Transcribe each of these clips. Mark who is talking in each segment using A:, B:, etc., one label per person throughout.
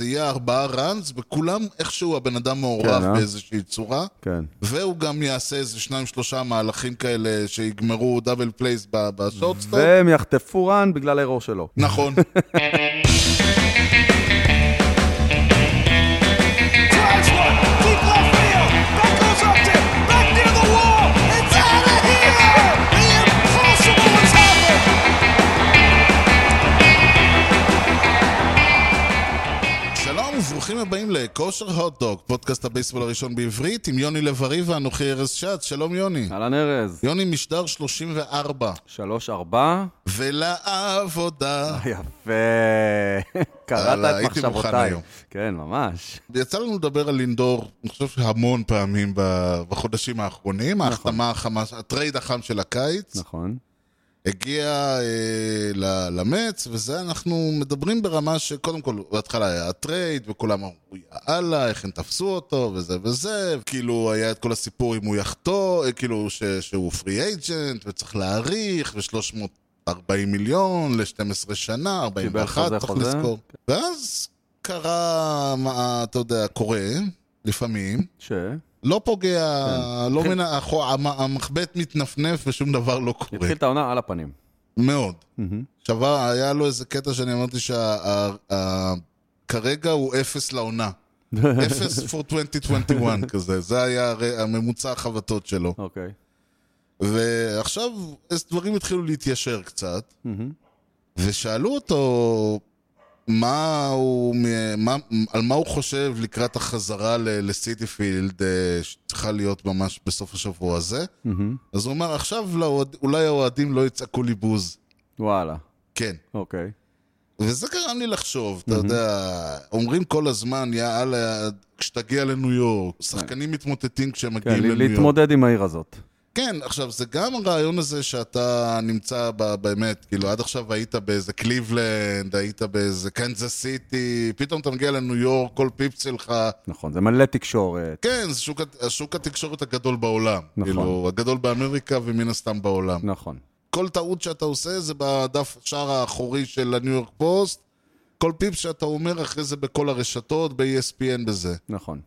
A: זה יהיה ארבעה ראנס, וכולם איכשהו הבן אדם מעורב
B: כן, אה?
A: באיזושהי צורה.
B: כן.
A: והוא גם יעשה איזה שניים שלושה מהלכים כאלה שיגמרו דאבל פלייס ב- בשורטסטופ.
B: והם יחטפו רן בגלל האירוע שלו.
A: נכון.
C: drives one, deep left field. That goes up to back near the wall. It's out of here. The impossible has happened.
A: שלום וברוכים הבאים לכושר הוטדוג, פודקאסט הבייסבול הראשון בעברית, עם יוני לב-ארי ואנוכי ארז שץ. שלום יוני.
B: אהלן ארז,
A: יוני משדר 34,
B: שלוש ארבע.
A: ולעבודה.
B: יפה. קראת
A: אה, יאללה,
B: את
A: הייתי מוכן
B: מחשבותיי.
A: היום.
B: כן, ממש.
A: יצא לנו לדבר על לינדור, אני חושב שהמון פעמים ב- בחודשים האחרונים, ההחתמה החמה, הטרייד החם של הקיץ.
B: נכון.
A: הגיע אה, ל- למץ, וזה אנחנו מדברים ברמה שקודם כל, בהתחלה היה הטרייד, וכולם אמרו, יאללה, איך הם תפסו אותו, וזה וזה, כאילו היה את כל הסיפור אם הוא יחטוא, אה, כאילו ש- שהוא פרי אייג'נט, וצריך להעריך, ו-340 מיליון ל-12 שנה,
B: קיבל
A: 41,
B: חוזה,
A: צריך
B: חוזה.
A: לזכור. ואז קרה, מה, אתה יודע, קורה, לפעמים.
B: ש?
A: לא פוגע,
B: כן.
A: לא מן האחו, המ- המחבט מתנפנף ושום דבר לא קורה.
B: התחיל את העונה על הפנים.
A: מאוד. עכשיו, היה לו איזה קטע שאני אמרתי שכרגע הוא אפס לעונה. אפס for 2021 כזה, זה היה הרי הממוצע החבטות שלו.
B: אוקיי.
A: ועכשיו, אז דברים התחילו להתיישר קצת, ושאלו אותו מה הוא, מ- מה, על מה הוא חושב לקראת החזרה ל- לסיטיפילד, אה, שצריכה להיות ממש בסוף השבוע הזה. אז הוא אמר, עכשיו לאוהד- אולי האוהדים לא יצעקו לי בוז.
B: וואלה.
A: כן.
B: אוקיי.
A: וזה גרם לי לחשוב, אתה יודע, אומרים כל הזמן, יאללה, כשתגיע לניו יורק, שחקנים מתמוטטים כשהם
B: כן,
A: מגיעים
B: ל-
A: לניו יורק.
B: להתמודד עם העיר הזאת.
A: כן, עכשיו, זה גם הרעיון הזה שאתה נמצא ב- באמת, כאילו, עד עכשיו היית באיזה קליבלנד, היית באיזה קנזס סיטי, פתאום אתה מגיע לניו יורק, כל פיפס שלך,
B: נכון, זה מלא תקשורת.
A: כן, זה שוק, הת- השוק התקשורת הגדול בעולם.
B: נכון.
A: כאילו, הגדול באמריקה ומן הסתם בעולם.
B: נכון.
A: כל טעות שאתה עושה זה בדף שער האחורי של הניו יורק פוסט. כל פיפס שאתה אומר אחרי זה בכל הרשתות, ב-ESPN בזה.
B: נכון.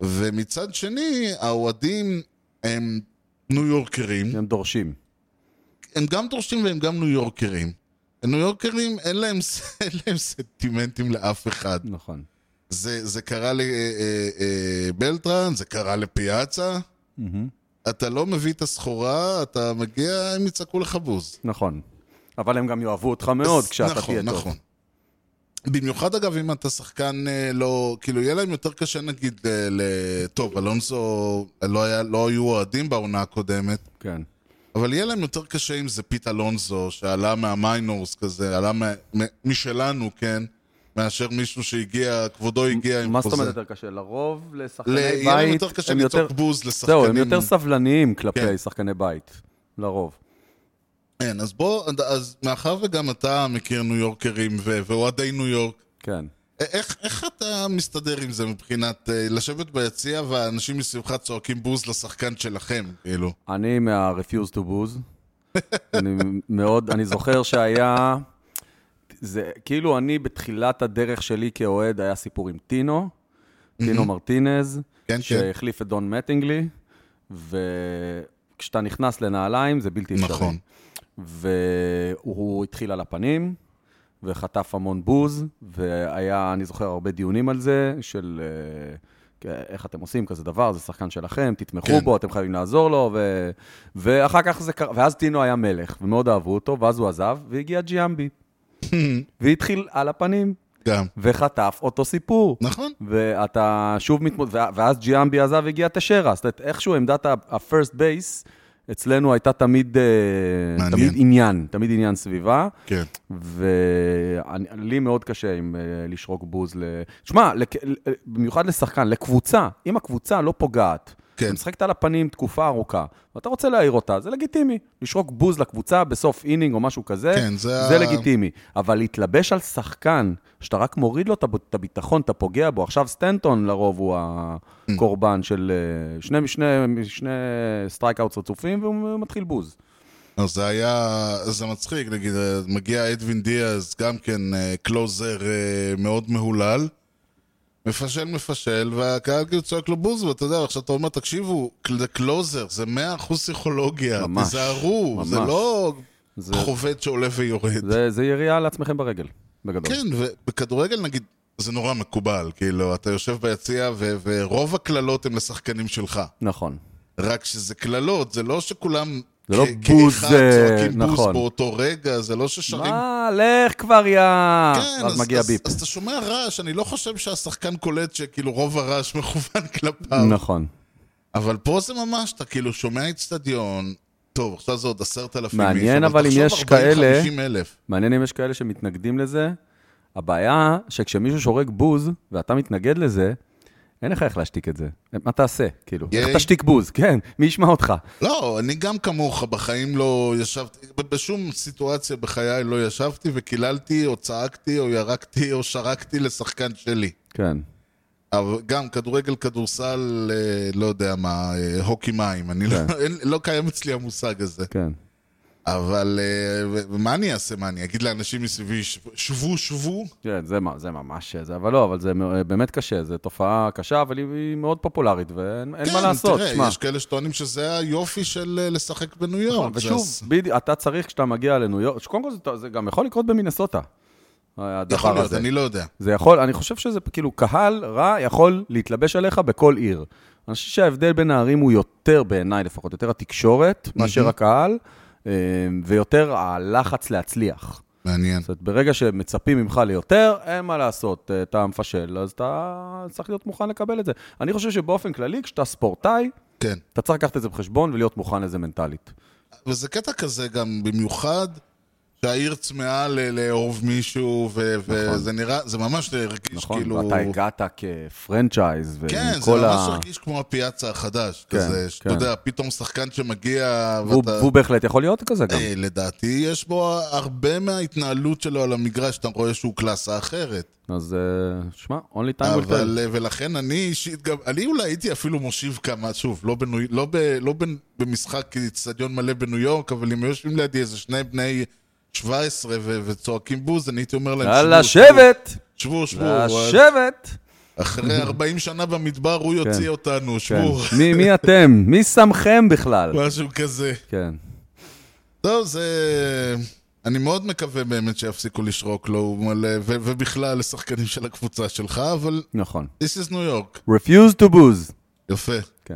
A: ומצד שני, האוהדים הם ניו יורקרים.
B: הם דורשים.
A: הם גם דורשים והם גם ניו יורקרים. ניו יורקרים, אין להם, ס- אין להם סנטימנטים לאף אחד.
B: נכון.
A: זה, זה קרה אה, לבלטרן, זה קרה לפיאצה. אתה לא מביא את הסחורה, אתה מגיע, הם יצעקו לך בוז.
B: נכון. אבל הם גם יאהבו אותך מאוד כשאתה
A: נכון,
B: תהיה טוב.
A: נכון. במיוחד אגב אם אתה שחקן אה, לא, כאילו יהיה להם יותר קשה נגיד ל... ל- טוב, אלונסו לא, היה, לא היו אוהדים בעונה הקודמת,
B: כן.
A: אבל יהיה להם יותר קשה אם זה פיט אלונסו שעלה מהמיינורס כזה, עלה מה, מ- משלנו, כן, מאשר מישהו שהגיע, כבודו הגיע עם
B: מה זאת
A: חוזה.
B: אומרת יותר קשה? לרוב לשחקני
A: ל-
B: בית...
A: יהיה להם יותר קשה
B: הם יותר-
A: לצעוק בוז לשחקנים.
B: זהו, הם יותר סבלניים
A: כן.
B: כלפי שחקני בית. לרוב.
A: כן, אז בוא, אז מאחר וגם אתה מכיר ניו יורקרים ו- ואוהדי ניו יורק,
B: כן.
A: איך, איך אתה מסתדר עם זה מבחינת אה, לשבת ביציע והאנשים מסביבך צועקים בוז לשחקן שלכם, כאילו?
B: אני מה-refuse to booze. אני מאוד, אני זוכר שהיה, זה כאילו אני בתחילת הדרך שלי כאוהד, היה סיפור עם טינו, טינו מרטינז,
A: כן, כן.
B: שהחליף את דון מטינגלי, וכשאתה נכנס לנעליים זה בלתי אפשרי.
A: נכון.
B: והוא התחיל על הפנים, וחטף המון בוז, והיה, אני זוכר, הרבה דיונים על זה, של אה, כ- איך אתם עושים כזה דבר, זה שחקן שלכם, תתמכו
A: כן.
B: כן. בו, אתם חייבים לעזור לו, ו... ואחר כך זה קרה, ואז טינו היה מלך, ומאוד אהבו אותו, ואז הוא עזב, והגיע ג'יאמבי, והתחיל על הפנים,
A: גם.
B: וחטף אותו סיפור.
A: נכון?
B: ואתה שוב מתמודד, ואז ג'יאמבי עזב, הגיע תשרה. זאת אומרת, איכשהו עמדת ה-first base אצלנו הייתה תמיד, אה,
A: מעניין.
B: תמיד עניין, תמיד עניין סביבה.
A: כן.
B: ולי מאוד קשה עם אה, לשרוק בוז ל... שמע, לק... ל- במיוחד לשחקן, לקבוצה, אם הקבוצה לא פוגעת,
A: כן.
B: אתה משחקת על הפנים תקופה ארוכה, ואתה רוצה להעיר אותה, זה לגיטימי. לשרוק בוז לקבוצה בסוף אינינג או משהו כזה,
A: כן, זה ה-
B: זה לגיטימי. אבל להתלבש על שחקן, שאתה רק מוריד לו את הב- את הביטחון, אתה פוגע בו, עכשיו סטנטון לרוב הוא הקורבן של אה, שני, שני, שני סטרייקאוטס רצופים, והוא מתחיל בוז.
A: אז לא, זה היה, זה מצחיק, נגיד, אה, מגיע אדווין דיאז, גם כן אה, קלוזר אה, מאוד מהולל, מפשל, מפשל, והקהל כאילו צועק לו בוז, ואתה יודע, עכשיו אתה אומר, תקשיבו, זה קלוזר, זה 100% פסיכולוגיה,
B: ממש,
A: תיזהרו, זה
B: ממש.
A: לא
B: זה-
A: חובד שעולה ויורד.
B: זה, זה ירייה על עצמכם ברגל, בגדול.
A: כן, ובכדורגל נגיד, זה נורא מקובל, כאילו, אתה יושב ביציע ו- ורוב הקללות הן לשחקנים שלך.
B: נכון.
A: רק שזה קללות, זה לא שכולם...
B: זה לא
A: כ-
B: בוז,
A: כאחד
B: אה,
A: צועקים בוז
B: נכון.
A: באותו רגע, זה לא ששרים...
B: מה, אה, לך כבר, יא...
A: כן,
B: אז מגיע
A: אז,
B: ביפ.
A: אז אתה שומע רעש, אני לא חושב שהשחקן קולט שכאילו רוב הרעש מכוון כלפיו.
B: נכון.
A: אבל פה זה ממש, אתה כאילו שומע אצטדיון, טוב, עכשיו זה עוד עשרת אלפים
B: מעניין, אבל אם יש כאלה-
A: אלף.
B: מעניין אם יש כאלה שמתנגדים לזה. הבעיה שכשמישהו שורק בוז, ואתה מתנגד לזה, אין לך איך להשתיק את זה. מה תעשה, כאילו?
A: ייי.
B: איך תשתיק בוז? כן, מי ישמע אותך?
A: לא, אני גם כמוך, בחיים לא ישבתי, ב- בשום סיטואציה בחיי לא ישבתי וקיללתי, או צעקתי, או ירקתי, או שרקתי לשחקן שלי.
B: כן.
A: אבל גם כדורגל, כדורסל, אה, לא יודע מה, אה, הוקי מים, אני לא, אין, לא קיים אצלי המושג הזה.
B: כן.
A: אבל אה, ו- ומה אני אעשה, מה אני אגיד לאנשים מסביבי, "ש- שבו, שבו?
B: כן, זה, מה- זה ממש זה, אבל לא, אבל זה מ- באמת קשה, זו תופעה קשה, אבל היא, היא מאוד פופולרית, ואין אין מה לעשות,
A: כן, תראה,
B: שמע.
A: יש כאלה שטוענים שזה היופי של אה, לשחק בניו יורק. זה
B: נכון, ושוב,
A: הס-
B: בדיוק, אתה צריך, כשאתה מגיע לניו יורק, קודם כל זה, זה גם יכול לקרות במינסוטה, הדבר
A: יכול להיות,
B: הזה.
A: אני לא יודע.
B: זה יכול, אני חושב שזה כאילו, קהל רע יכול להתלבש עליך בכל עיר. אני חושב שההבדל בין הערים הוא יותר, בעיניי לפחות, יותר התקשורת מאשר הקהל, אה, ויותר הלחץ להצליח.
A: מעניין.
B: זאת אומרת, ברגע שמצפים ממך ליותר, אין מה לעשות, אה, אתה מפשל, אז אתה צריך להיות מוכן לקבל את זה. אני חושב שבאופן כללי, כשאתה ספורטאי,
A: כן.
B: אתה צריך לקחת את זה בחשבון ולהיות מוכן לזה מנטלית.
A: וזה קטע כזה גם במיוחד, שהעיר צמאה ל- לאהוב מישהו, ו- וזה נראה, זה ממש הרגיש
B: נכון?
A: כאילו...
B: ואתה הגעת כפרנצ'ייז, ועם
A: כן, זה
B: כל
A: ממש
B: ה...
A: הרגיש כמו הפיאצה החדש.
B: כן,
A: כזה, שאתה
B: כן.
A: יודע, פתאום שחקן שמגיע,
B: והוא-
A: ואתה...
B: והוא בהחלט יכול להיות כזה גם.
A: אה, לדעתי, יש בו הרבה מההתנהלות שלו על המגרש, אתה רואה שהוא קלאסה אחרת.
B: אז אה, שמע, only time will tell.
A: אבל, אה, ולכן אני אישית גם, אני אולי הייתי אפילו מושיב כמה, שוב, לא, בנו, לא, ב, לא ב, במשחק אצטדיון מלא בניו יורק, אבל אם היו יושבים לידי איזה שני בני 17 ו, וצועקים בוז, אני הייתי אומר להם,
B: יאללה,
A: שבו,
B: שבט!
A: שבו, שבו, שבו,
B: לשבת!
A: אחרי 40 שנה במדבר הוא יוציא
B: כן.
A: אותנו,
B: כן.
A: שבו,
B: מי- מי אתם? מי שמכם בכלל?
A: משהו כזה.
B: כן.
A: טוב, זה... אני מאוד מקווה באמת שיפסיקו לשרוק לו, הוא מלא- ו- ובכלל לשחקנים של הקבוצה שלך, אבל
B: נכון.
A: this is New York.
B: Refuse to booze.
A: יפה.
B: כן.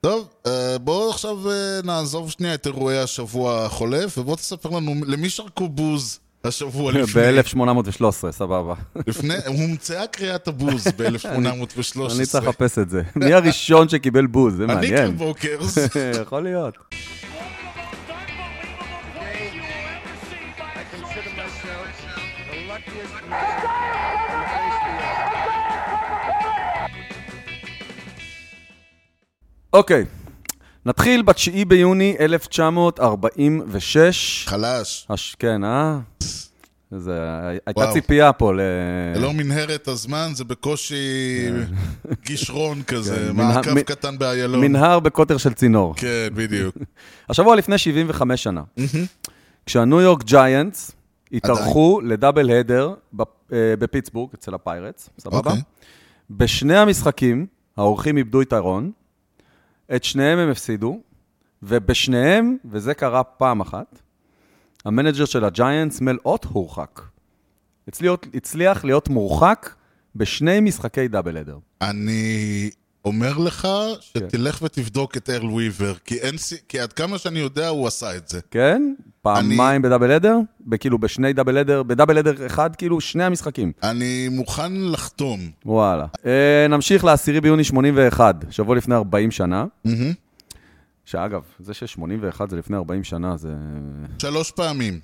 A: טוב, אה, בואו עכשיו אה, נעזוב שנייה את אירועי השבוע החולף, ובוא תספר לנו למי שרקו בוז השבוע לפני.
B: ב-1813, סבבה.
A: לפני, הומצאה קריאת הבוז ב-1813.
B: אני צריך לחפש את זה. מי הראשון שקיבל בוז? זה מעניין.
A: אוקיי. אני כבוקרס.
B: יכול להיות.
D: I consider myself the luckiest man.
B: אוקיי, נתחיל ב-9 ביוני 1946.
A: חלש.
B: הש... כן, אה? זה... אה, הייתה
A: וואו.
B: ציפייה פה ל...
A: זה לא מנהרת הזמן, זה בקושי גישרון כזה,
B: כן,
A: מעקב
B: מנה-
A: קטן באיילון.
B: מנהר בקוטר של צינור.
A: כן, בדיוק.
B: השבוע לפני 75 שנה, כשהניו יורק ג'יינטס התארחו לדאבל הדר בפ- אה, בפיטסבורג, אצל הפיירטס, סבבה?
A: אוקיי.
B: בשני המשחקים, האורחים איבדו יתרון, את שניהם הם הפסידו, ובשניהם, וזה קרה פעם אחת, המנג'ר של הג'יינטס, מל אוט, הורחק. הצליח, הצליח להיות מורחק בשני משחקי דאבל הדר.
A: אני אומר לך
B: כן.
A: שתלך ותבדוק את ארל וויבר, כי אין סי- כי עד כמה שאני יודע, הוא עשה את זה.
B: כן? פעמיים בדאבל הדר, כאילו בשני דאבל הדר, בדאבל הדר אחד, כאילו שני המשחקים.
A: אני מוכן לחתום.
B: וואלה. אה, נמשיך ל-10 ביוני 81, שבוע לפני 40 שנה. שאגב, זה ש-81 זה לפני 40 שנה, זה...
A: שלוש פעמים.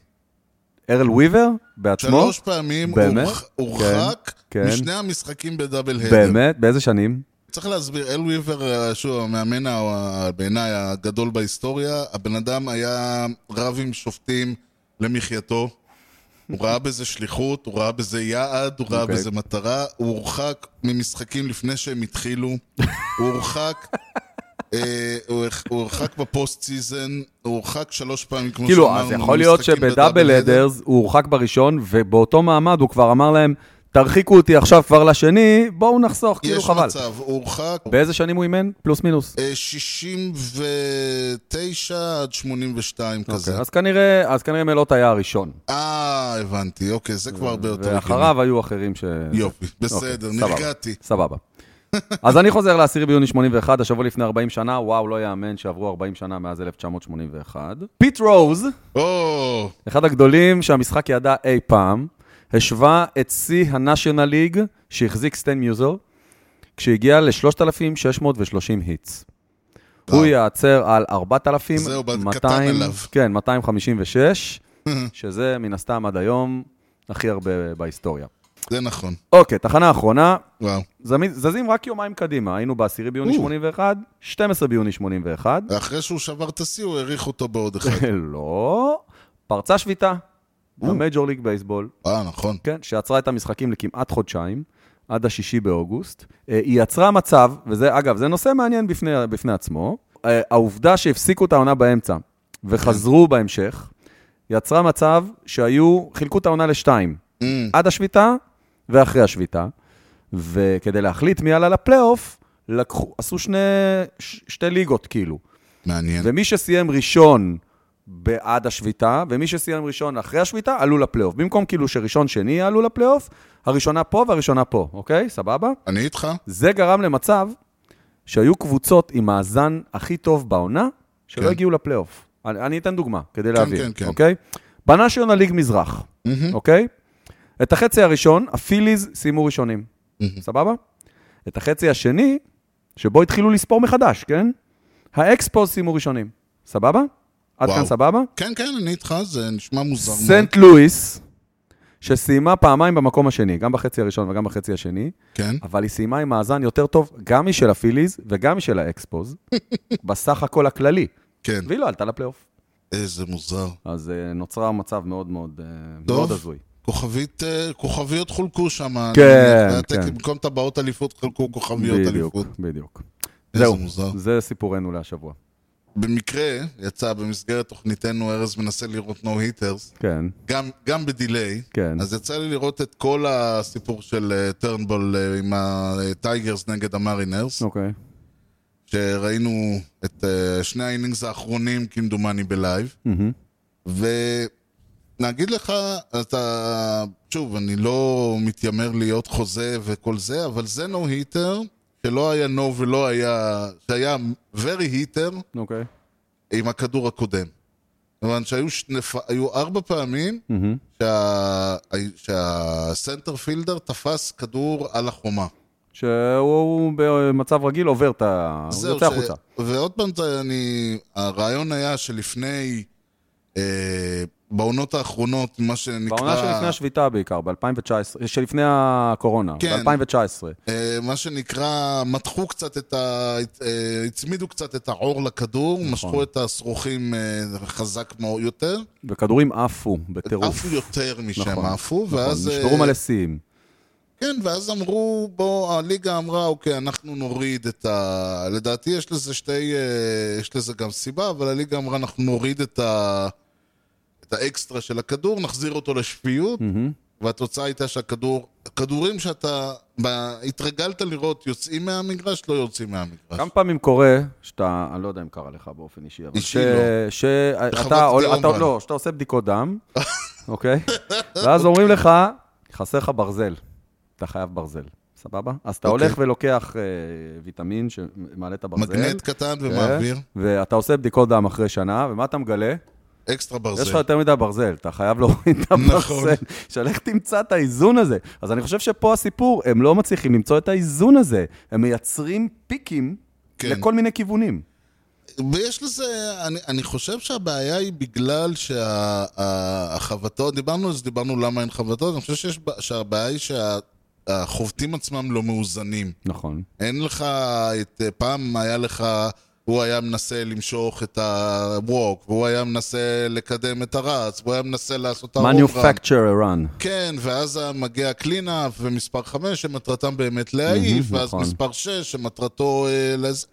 B: ארל וויבר בעצמו?
A: שלוש פעמים
B: באמת?
A: הורח- הורחק
B: כן, כן.
A: משני המשחקים בדאבל הדר.
B: באמת? באיזה שנים?
A: צריך להסביר, אל וויבר, אה, שוב, המאמן ה- בעיניי הגדול בהיסטוריה, הבן אדם היה רב עם שופטים למחייתו. הוא ראה בזה שליחות, הוא ראה בזה יעד, הוא ראה
B: אוקיי.
A: בזה מטרה. הוא הורחק ממשחקים לפני שהם התחילו. הוא הורחק... אה, הוא הורח- הוא הורחק בפוסט סיזן, הוא הורחק שלוש פעמים, כמו
B: כאילו,
A: שאמרנו,
B: אז יכול להיות
A: ממשחקים
B: שבדאבל
A: בדאבל הדר.
B: הדרס הוא הורחק בראשון, ובאותו מעמד הוא כבר אמר להם, תרחיקו אותי עכשיו כבר לשני, בואו נחסוך, כאילו
A: יש
B: חבל.
A: מצב, הוא הורחק
B: באיזה שנים הוא אימן? פלוס מינוס.
A: אה, 69 עד 82 כזה.
B: אוקיי, אז כנראה, אז כנראה מלוט היה הראשון.
A: אה, הבנתי, אוקיי, זה כבר הרבה יותר...
B: ואחריו היו אחרים ש...
A: הגיוני. יופי, בסדר,
B: אוקיי, סבבה.
A: נרגעתי.
B: סבבה. אז אני חוזר ל-10 ביוני 81, השבוע לפני 40 שנה, וואו, לא יאמן שעברו 40 שנה מאז 1981. פיט רוז,
A: או,
B: אחד הגדולים שהמשחק ידע אי פעם, השווה את שיא ה-National League שהחזיק סטיין מיוזו, כשהגיע ל-3,630 היטס. הוא ייעצר על 4,200...
A: זהו, בד- קטן עליו.
B: כן, 256, שזה מן הסתם עד היום הכי הרבה בהיסטוריה.
A: זה נכון,
B: אוקיי, תחנה אחרונה,
A: וואו.
B: זמין- זזים רק יומיים קדימה, היינו ב-10 ביוני
A: או.
B: 81, 12 ביוני 81.
A: ואחרי שהוא שבר את השיא, הוא האריך אותו בעוד אחד.
B: לא, פרצה שביתה במייג'ור ליג בייסבול,
A: אה, נכון.
B: כן, שעצרה את המשחקים לכמעט חודשיים, עד השישי באוגוסט. אה, היא יצרה מצב, וזה, אגב, זה נושא מעניין בפני, בפני עצמו, אה, העובדה שהפסיקו את העונה באמצע
A: כן.
B: וחזרו בהמשך, יצרה מצב שהיו, חילקו את העונה לשתיים,
A: Mm,
B: עד השביתה ואחרי השביתה, וכדי להחליט מי עלה לפלייאוף, לקחו, עשו שני, ש, שתי ליגות כאילו.
A: מעניין.
B: ומי שסיים ראשון בעד השביתה, ומי שסיים ראשון אחרי השביתה, עלו לפלייאוף. במקום כאילו שראשון שני יעלו לפלייאוף, הראשונה פה והראשונה פה, אוקיי? סבבה?
A: אני איתך?
B: זה גרם למצב שהיו קבוצות עם מאזן הכי טוב בעונה, שלא
A: כן.
B: הגיעו לפלייאוף. אני, אני אתן דוגמה, כדי
A: כן,
B: להבין,
A: כן, כן.
B: אוקיי? בנאשיונל ליג מזרח, אוקיי? את החצי הראשון, הפיליז סיימו ראשונים, סבבה? את החצי השני, שבו התחילו לספור מחדש, כן? האקספוס סיימו ראשונים, סבבה? עד
A: וואו.
B: כאן סבבה?
A: כן, כן, אני איתך, זה נשמע מוזר מאוד.
B: סנט לואיס, שסיימה פעמיים במקום השני, גם בחצי הראשון וגם בחצי השני,
A: כן.
B: אבל היא סיימה עם מאזן יותר טוב גם משל הפיליז וגם משל האקספוז, בסך הכל הכללי,
A: כן,
B: והיא לא עלתה לפלייאוף.
A: איזה מוזר.
B: אז אה, נוצר מצב מאוד מאוד, אה,
A: טוב.
B: מאוד הזוי.
A: כוכבית, אה, כוכביות חולקו שם. אני
B: כן,
A: מניח, והטק-
B: כן.
A: במקום טבעות אליפות חלקו כוכביות
B: בדיוק,
A: אליפות.
B: בדיוק.
A: איזה
B: זהו,
A: מוזר.
B: זה סיפורנו להשבוע.
A: במקרה, יצא במסגרת תוכניתנו, ארז מנסה לראות נו היטרס,
B: כן,
A: גם, גם בדיליי.
B: כן.
A: אז יצא לי לראות את כל הסיפור של אה, טרנבול אה, עם הטייגרס נגד המרינרס,
B: אוקיי.
A: שראינו את אה, שני האינינגס האחרונים כמדומני בלייב.
B: מהמם.
A: ונגיד לך, אתה, שוב, אני לא מתיימר להיות חוזה וכל זה, אבל זה נו היטר, שלא היה נו ולא היה, שהיה very היטר
B: אוקיי.
A: עם הכדור הקודם. כיוון שהיו שנפ... היו ארבע פעמים
B: מהמם.
A: שה... שהסנטר פילדר תפס כדור על
B: אה,
A: החומה.
B: שהוא במצב רגיל עובר את ה... הוא
A: זהו,
B: יוצא החוצה.
A: ועוד פעם, זה- אני... הרעיון היה שלפני, אה, בעונות האחרונות, מה שנקרא...
B: בעונה שלפני השביתה בעיקר, ב-2019, שלפני הקורונה,
A: כן.
B: ב-2019.
A: אה, מה שנקרא, מתחו קצת את ה... אה, הצמידו קצת את העור לכדור,
B: נכון.
A: משכו את השרוכים אה, חזק מאוד יותר.
B: וכדורים עפו בטירוף.
A: עפו יותר משהם
B: נכון,
A: עפו,
B: נכון,
A: ואז...
B: נשברו
A: אה,
B: מלא שיאים.
A: כן, ואז אמרו, בוא, הליגה אמרה, אוקיי, אנחנו נוריד את ה... לדעתי יש לזה שתי... אה, יש לזה גם סיבה, אבל הליגה אמרה, אנחנו נוריד את ה... את האקסטרה של הכדור, נחזיר אותו לשפיות,
B: מהמם.
A: והתוצאה הייתה שהכדור... הכדורים שאתה ב... התרגלת לראות יוצאים מהמגרש, לא יוצאים מהמגרש.
B: כמה פעמים קורה שאתה, אני לא יודע אם קרה לך באופן אישי, אבל
A: אישי
B: ש...
A: לא. בחוות
B: שאתה
A: דעות אבל.
B: לא, שאתה עושה בדיקות דם, אוקיי? ואז אומרים לך, חסר לך ברזל. אתה חייב ברזל, סבבה? אז אתה
A: אוקיי.
B: הולך ולוקח אה, ויטמין שמעלה את הברזל.
A: מגנט קטן
B: כן?
A: ומעביר,
B: ואתה עושה בדיקות דם אחרי שנה, ומה אתה מגלה?
A: אקסטרה
B: יש לך
A: ברזל.
B: יותר מדי ברזל, אתה חייב להוריד את
A: נכון.
B: הברזל. של איך תמצא את האיזון הזה. אז אני חושב שפה הסיפור, הם לא מצליחים למצוא את האיזון הזה. הם מייצרים פיקים
A: כן.
B: לכל מיני כיוונים.
A: ויש לזה, אני, אני חושב שהבעיה היא בגלל שהחבטות, דיברנו על זה, דיברנו למה אין חבטות, אני חושב שיש, ב- שהבעיה היא שהחובטים עצמם לא מאוזנים.
B: נכון.
A: אין לך את, פעם היה לך, הוא היה מנסה למשוך את ה-walk, והוא היה מנסה לקדם את הרץ, והוא היה מנסה לעשות את ה-home run.
B: Manufacturer run.
A: כן, ואז מגיע קלינאפ ומספר 5 שמטרתם באמת להעיף,
B: מהמם,
A: ואז
B: נכון.
A: מספר 6 שמטרתו... אה, לז...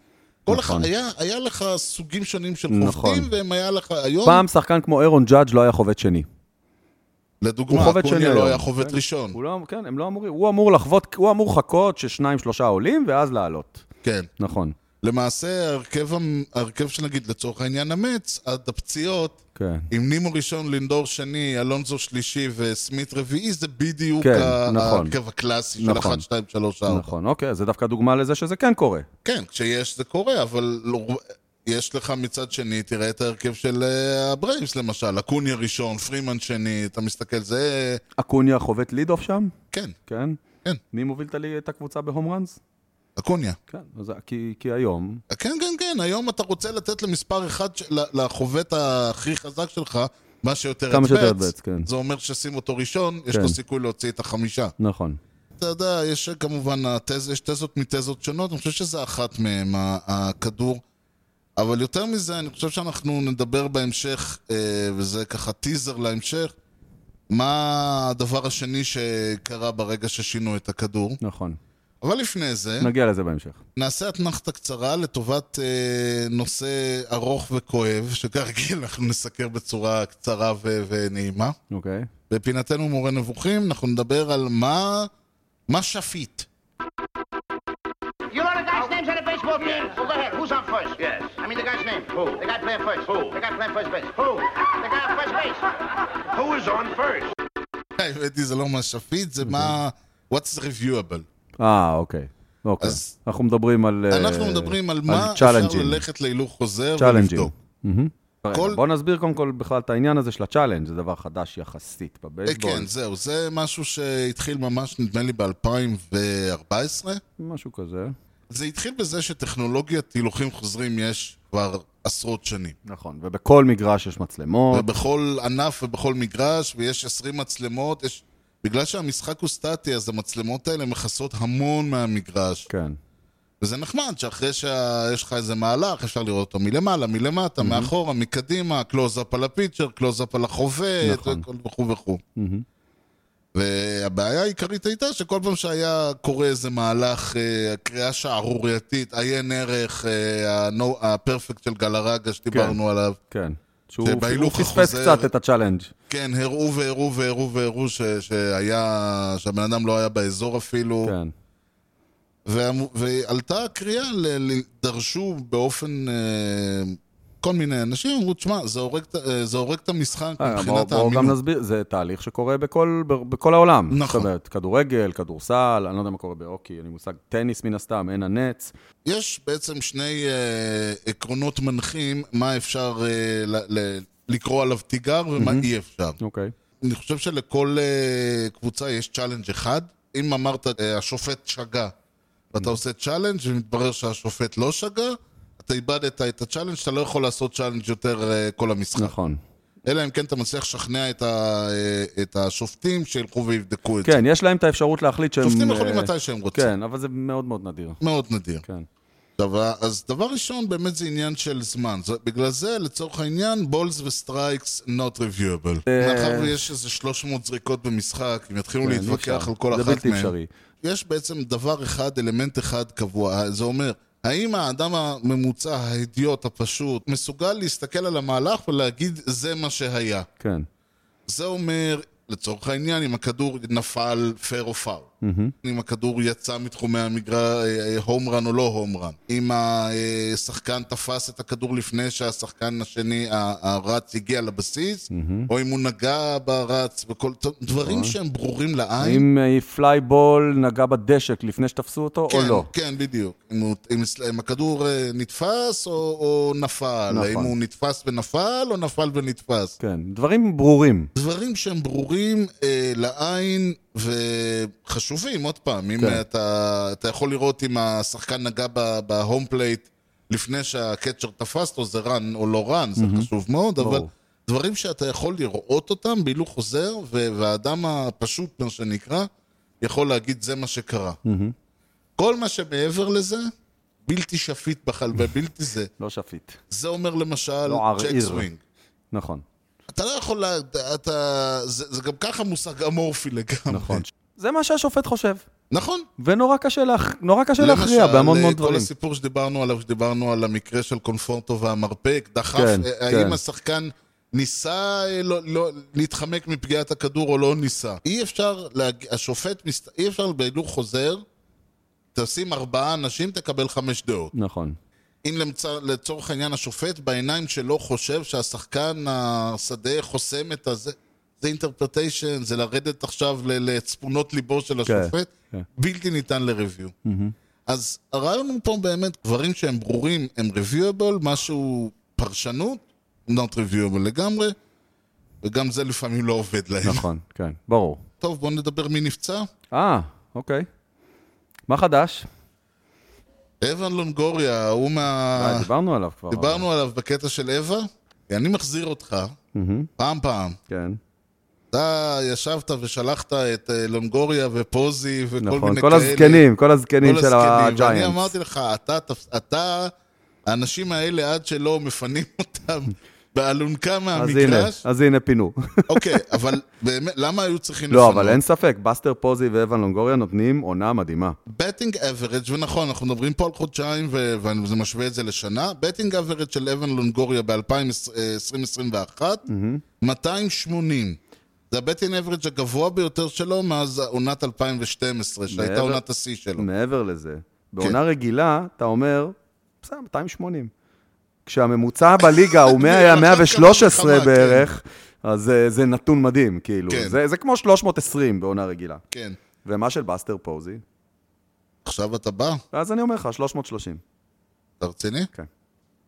A: כל אחד,
B: נכון.
A: היה, היה לך סוגים שונים של
B: נכון.
A: חובטים, והם היה לך היום...
B: פעם שחקן כמו אירון ג'אדג' לא היה חובט שני.
A: לדוגמה,
B: חובט שני
A: אקוניה לא
B: היום.
A: היה חובט
B: כן.
A: ראשון.
B: הוא לא, כן, הם לא אמורים, הוא אמור לחוות, הוא אמור לחכות ששניים שלושה עולים ואז לעלות.
A: כן.
B: נכון,
A: למעשה, ההרכב המ- ההרכב של נגיד, לצורך העניין, אמץ, עד הפציעות,
B: כן.
A: עם נימו ראשון, לינדור שני, אלונזו שלישי וסמית רביעי, זה בדיוק
B: כן,
A: ה-
B: נכון.
A: ההרכב הקלאסי של
B: נכון.
A: 1, 2, 3, 4.
B: נכון, אוקיי, זה דווקא דוגמה לזה שזה כן קורה.
A: כן, כשיש זה קורה, אבל לא- יש לך מצד שני, תראה את ההרכב של אה, הברייבס למשל, אקוניה ראשון, פרימן שני, אתה מסתכל, זה...
B: אקוניה חובט ליד אוף שם,
A: כן,
B: כן?
A: כן.
B: מי מוביל את ה- את הקבוצה בהום ראנס?
A: אקוניה.
B: כן, אז- כי, כי היום,
A: כן, כן, כן, היום אתה רוצה לתת למספר אחד, של- לחובט הכי חזק שלך, מה שיותר
B: כמה שיותר advanced, כן.
A: זה אומר ששים אותו ראשון, יש
B: כן.
A: לו סיכוי להוציא את החמישה.
B: נכון.
A: אתה יודע, יש כמובן, התז, יש תזות מתזות שונות, אני חושב שזה אחת מהן, ה- הכדור. אבל יותר מזה, אני חושב שאנחנו נדבר בהמשך, אה, וזה ככה טיזר להמשך, מה הדבר השני שקרה ברגע ששינו את הכדור.
B: נכון.
A: אבל לפני זה,
B: נגיע לזה בהמשך.
A: נעשה אתנחתא קצרה לטובת אה, נושא ארוך וכואב, שכרגיל אנחנו נסקר בצורה קצרה ו- ונעימה.
B: אוקיי.
A: בפינתנו מורה נבוכים, אנחנו נדבר על מה, מה שפיט.
E: You know the guy's names on the baseball team? Well, go ahead. Who's on first? Yes. I mean the guy's name. Who? The guy playing first. Who? The guy playing first base. Who? The guy on first base. Who is on first?
A: האמת זה לא מה שפיט, זה מה... What's reviewable.
B: אה, אוקיי. אוקיי.
A: אז-
B: אנחנו מדברים על... אה,
A: אנחנו מדברים על
B: על
A: מה אפשר
B: challenges.
A: ללכת להילוך חוזר
B: צ'אלנג'ים.
A: ולבדוק. Mm-hmm. כל-
B: בוא נסביר קודם כל בכלל את העניין הזה של הצ'אלנג', זה דבר חדש יחסית
A: אה,
B: בבייסבול.
A: כן, זהו, זה משהו שהתחיל ממש, נדמה לי, ב-2014.
B: משהו כזה.
A: זה התחיל בזה שטכנולוגיית הילוכים חוזרים יש כבר עשרות שנים.
B: נכון, ובכל מגרש יש מצלמות.
A: ובכל ענף ובכל מגרש, ויש 20 מצלמות, יש... בגלל שהמשחק הוא סטטי, אז המצלמות האלה מכסות המון מהמגרש.
B: כן,
A: וזה נחמד שאחרי שיש לך איזה מהלך, אפשר לראות אותו מלמעלה, מלמטה, מאחורה, מקדימה, קלוז-אפ על הפיצ'ר, קלוז-אפ על החובט,
B: נכון.
A: וכל וכו' וכו'.
B: Mm-hmm.
A: והבעיה העיקרית הייתה שכל פעם שהיה קורה איזה מהלך, אה, קריאה שערורייתית, עיין ערך, אה, הנו- הפרפקט של גלרגה שדיברנו עליו,
B: כן. שהוא
A: זה
B: הוא
A: בהילוך
B: פספס
A: החוזר.
B: קצת את הצ'אלנג'.
A: כן, הראו והראו והראו והראו ש- שהיה, שהבן אדם לא היה באזור אפילו.
B: כן.
A: והמ- ועלתה הקריאה, ל- ל- דרשו באופן... אה, כל מיני אנשים אמרו, תשמע, זה הורג את- אה, זה הורג את המשחק
B: אה, בואו
A: מבחינת
B: בואו גם
A: האמינות.
B: נסביר, זה תהליך שקורה בכל, ב- בכל העולם.
A: נכון.
B: זאת אומרת, כדורגל, כדורסל, אני לא יודע מה קורה בהוקי, אין לי מושג, טניס מן הסתם, אין הנץ.
A: יש בעצם שני אה, עקרונות מנחים, מה אפשר אה, ל- ל- לקרוא עליו תיגר ומה אי אפשר.
B: אוקיי.
A: אני חושב שלכל אה, קבוצה יש צ'אלנג' אחד. אם אמרת, אה, השופט שגה, ואתה עושה צ'אלנג' ומתברר שהשופט לא שגה, אתה איבדת את הצ'אלנג', אתה לא יכול לעשות צ'אלנג' יותר אה, כל המשחק.
B: נכון.
A: אלא אם כן אתה מצליח לשכנע את, ה, אה, את השופטים שילכו ויבדקו את זה.
B: כן, יש להם את האפשרות להחליט שהם...
A: שופטים יכולים
B: אה,
A: מתי שהם רוצים.
B: כן, אבל זה מאוד מאוד נדיר.
A: מאוד נדיר.
B: כן.
A: עכשיו, ה- אז דבר ראשון, באמת זה עניין של זמן. זו- בגלל זה, לצורך העניין, בולס וסטרייקס not reviewable. מאחר ויש איזה 300 זריקות במשחק, אם יתחילו
B: אה, כן, אי
A: להתווכח
B: אפשר.
A: על כל
B: זה
A: אחת
B: בלתי
A: מהן,
B: אפשרי.
A: יש בעצם דבר אחד, אלמנט אחד קבוע. אה, זה אומר, האם האדם הממוצע, האידיוט הפשוט, מסוגל להסתכל על המהלך ולהגיד, זה מה שהיה?
B: כן.
A: זה אומר, לצורך העניין, אם הכדור נפל פייר או פאול. אם הכדור יצא מתחומי אה, המגרש, הום רן או לא הום רן. אם השחקן תפס את הכדור לפני שהשחקן השני, ה- הרץ, הגיע לבסיס, או אם הוא נגע ברץ, וכל דברים שהם ברורים לעין.
B: נכון. האם אה, פליי בול נגע בדשק לפני שתפסו אותו
A: כן,
B: או לא?
A: כן, בדיוק. אם, הוא, אם, הס- אם הכדור אה, נתפס או, או נפל,
B: נכון.
A: האם הוא נתפס ונפל או נפל ונתפס.
B: כן, דברים ברורים.
A: דברים שהם ברורים אה, לעין וחשובים, עוד פעם, אם
B: כן.
A: כן. אתה, אתה יכול לראות אם השחקן נגע ב- בהום פלייט לפני שהקצ'ר תפס אותו, זה רן או לא רן, זה חשוב מאוד, אבל
B: ברור.
A: דברים שאתה יכול לראות אותם בהילוך חוזר, ו- והאדם הפשוט, מה שנקרא, יכול להגיד, זה מה שקרה. כל מה שמעבר לזה, בלתי שפיט בכלל, ובלתי זה.
B: לא שפיט.
A: זה אומר למשל,
B: לא ערעיר.
A: צ'ק סווינג.
B: נכון,
A: אתה לא יכול, לה- אתה, זה, זה גם ככה מושג אמורפי לגמרי.
B: נכון. זה מה שהשופט חושב.
A: נכון.
B: ונורא קשה להכ- נורא קשה להכריע
A: למשל,
B: בהמון מאוד
A: כל
B: דברים.
A: הסיפור שדיברנו עליו, שדיברנו על המקרה של קונפורטו והמרפק, דחף,
B: כן,
A: אה,
B: כן.
A: האם השחקן ניסה אה, לא, לא, להתחמק מפגיעת הכדור או לא ניסה. אי אפשר, להג... השופט, מסת... אי אפשר בהילוך חוזר, תשים ארבעה אנשים, תקבל חמש דעות.
B: נכון.
A: אם למצ... לצורך העניין השופט בעיניים שלו חושב שהשחקן השדה חוסם את הזה, זה אינטרפרטיישן, זה לרדת עכשיו ל- לצפונות ליבו של השופט,
B: כן.
A: בלתי ניתן לרוויו. אז הרעיון הוא פה באמת, דברים שהם ברורים הם reviewable, משהו פרשנות, not reviewable לגמרי, וגם זה לפעמים לא עובד להם.
B: נכון, כן, ברור.
A: טוב, בואו נדבר מי נפצע.
B: אה, אוקיי. מה חדש?
A: אה, אבן לונגוריה, הוא
B: אה,
A: מה...
B: דיברנו עליו כבר.
A: דיברנו עליו בקטע של אווה, כי אני מחזיר אותך, פעם פעם.
B: כן,
A: אתה ישבת ושלחת את אה, לונגוריה ופוזי וכל
B: נכון.
A: מיני
B: כל
A: כאלה.
B: הזקנים, כל הזקנים של
A: הזקנים. ואני
B: הג'יינטס.
A: אמרתי לך, אתה, תפ- אתה, האנשים האלה עד שלא מפנים אותם באלונקה
B: אז הנה,
A: מהמגרש.
B: אז הנה פינו.
A: אוקיי, אבל באמת, למה היו צריכים
B: לא,
A: לפנות?
B: אבל אין ספק, בסטר פוזי ואבן לונגוריה נותנים עונה מדהימה.
A: בטינג אברג', ונכון, אנחנו מדברים פה על חודשיים ו- ואני משווה את זה לשנה, בטינג אברג' של אבן לונגוריה ב-2021, 280. זה הבטינג אברג' הגבוה ביותר שלו מאז עונת 2012, שהייתה
B: מעבר-
A: עונת השיא שלו.
B: מעבר לזה,
A: כן.
B: בעונה רגילה, אתה אומר, בסדר, 280. כשהממוצע בליגה הוא 100,
A: אחת
B: 113
A: כמה וכמה,
B: בערך, אז אה, זה נתון מדהים, כאילו.
A: כן.
B: זה זה כמו 320 בעונה רגילה.
A: כן.
B: ומה של בסטר פוזי?
A: עכשיו אתה בא?
B: אז אני אומר לך, 330.
A: אתה רציני?
B: כן.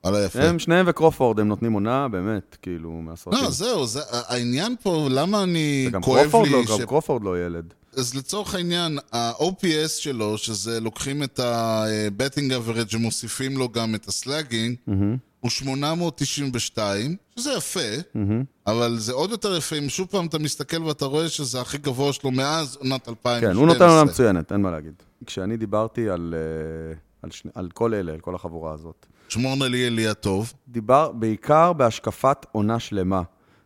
A: וואלה, יפה.
B: הם, שניהם וקרופורד, הם נותנים עונה, באמת, כאילו, מהסרטים.
A: לא, זהו, זה, העניין פה, למה אני
B: וגם
A: כואב
B: קרופורד
A: לי...
B: לא,
A: ש-
B: גם קרופורד לא ילד.
A: אז לצורך העניין, ה-OPS שלו, שזה לוקחים את ה-Betting Average ומוסיפים לו גם את הסלאגינג, הוא 892, שזה יפה, אבל זה עוד יותר יפה אם שוב פעם אתה מסתכל ואתה רואה שזה הכי גבוה שלו מאז עונת 2012.
B: כן, הוא נותן עונה מצוינת, אין מה להגיד. כשאני דיברתי על, אה, על, שני, על כל אלה, על כל החבורה הזאת,
A: שמור נא לי אלי הטוב.
B: דיבר בעיקר בהשקפת עונה שלמה,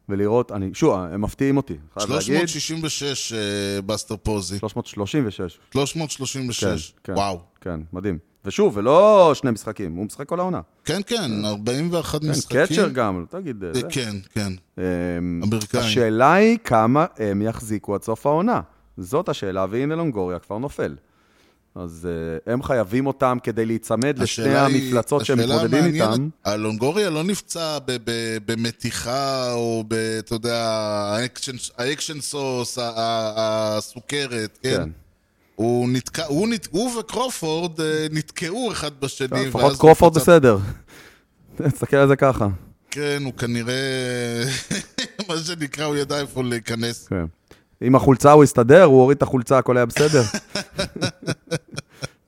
B: ולראות, אני, שוב, הם מפתיעים אותי, חייב להגיד.
A: 366 אה, בסטר פוזי,
B: 336.
A: 336,
B: כן,
A: וואו.
B: כן, מדהים. ושוב, ולא שני משחקים, הוא משחק כל העונה.
A: כן, כן, 41
B: כן,
A: משחקים.
B: קצ'ר גם, תגיד, אה,
A: אה,
B: זה.
A: כן, כן.
B: אמ,
A: אמריקאים.
B: השאלה היא כמה הם יחזיקו עד סוף העונה. זאת השאלה, והנה לונגוריה כבר נופל. אז אה, הם חייבים אותם כדי להיצמד לשני
A: השאלה היא-
B: המפלצות שהם
A: השאלה
B: מתמודדים
A: המעניינת,
B: איתם.
A: הלונגוריה לא נפצע ב- ב- במתיחה או ב... אתה יודע, האקשן- האקשן סוס, ה- ה- הסוכרת, כן.
B: כן.
A: הוא נתקע, הוא, נת, הוא וקרופורד אה, נתקעו אחד בשני.
B: טוב,
A: ואז
B: כן, לפחות
A: הוא
B: קרופורד
A: פצע-
B: בסדר. תסתכל על זה ככה.
A: כן, הוא כנראה, מה שנקרא, הוא ידע איפה להיכנס.
B: כן. עם החולצה הוא הסתדר, הוא הוריד את החולצה, הכל היה בסדר.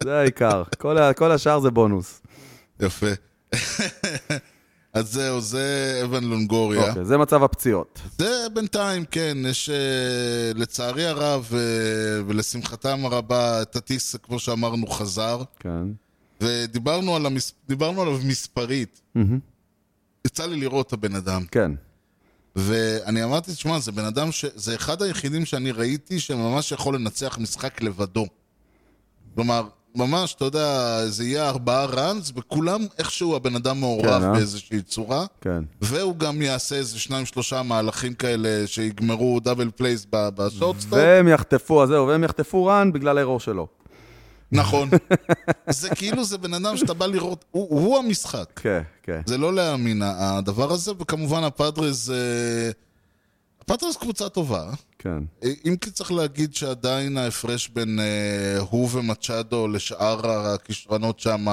B: זה העיקר. כל ה- כל השאר זה בונוס.
A: יפה. אז זהו, זה אבן לונגוריה.
B: אוקיי, זה מצב הפציעות.
A: זה בינתיים, כן, יש אה, לצערי הרב אה, ולשמחתם הרבה, טטיס, כמו שאמרנו, חזר,
B: כן.
A: ודיברנו על המס... דיברנו עליו מספרית. יצא לי לראות את הבן אדם,
B: כן.
A: ואני אמרתי, תשמע, זה בן אדם ש... זה אחד היחידים שאני ראיתי שממש יכול לנצח משחק לבדו. כלומר, ממש, אתה יודע, זה יהיה ארבעה ראנס, וכולם איכשהו הבן אדם מעורב
B: כן, אה?
A: באיזושהי צורה.
B: כן.
A: והוא גם יעשה איזה שניים שלושה מהלכים כאלה שיגמרו דאבל פלייס ב- בשורטסטופ.
B: והם יחטפו, אז זהו, והם יחטפו רן בגלל האירור שלו.
A: נכון. זה כאילו זה בן אדם שאתה בא לראות, הוא, הוא המשחק.
B: כן, כן.
A: זה לא להאמין ה- הדבר הזה, וכמובן הפאדרס... אה, הפאדרס קבוצה טובה.
B: כן.
A: אה, אם כי צריך להגיד שעדיין ההפרש בין אה, הוא ומצ'אדו לשאר הכישרונות שם,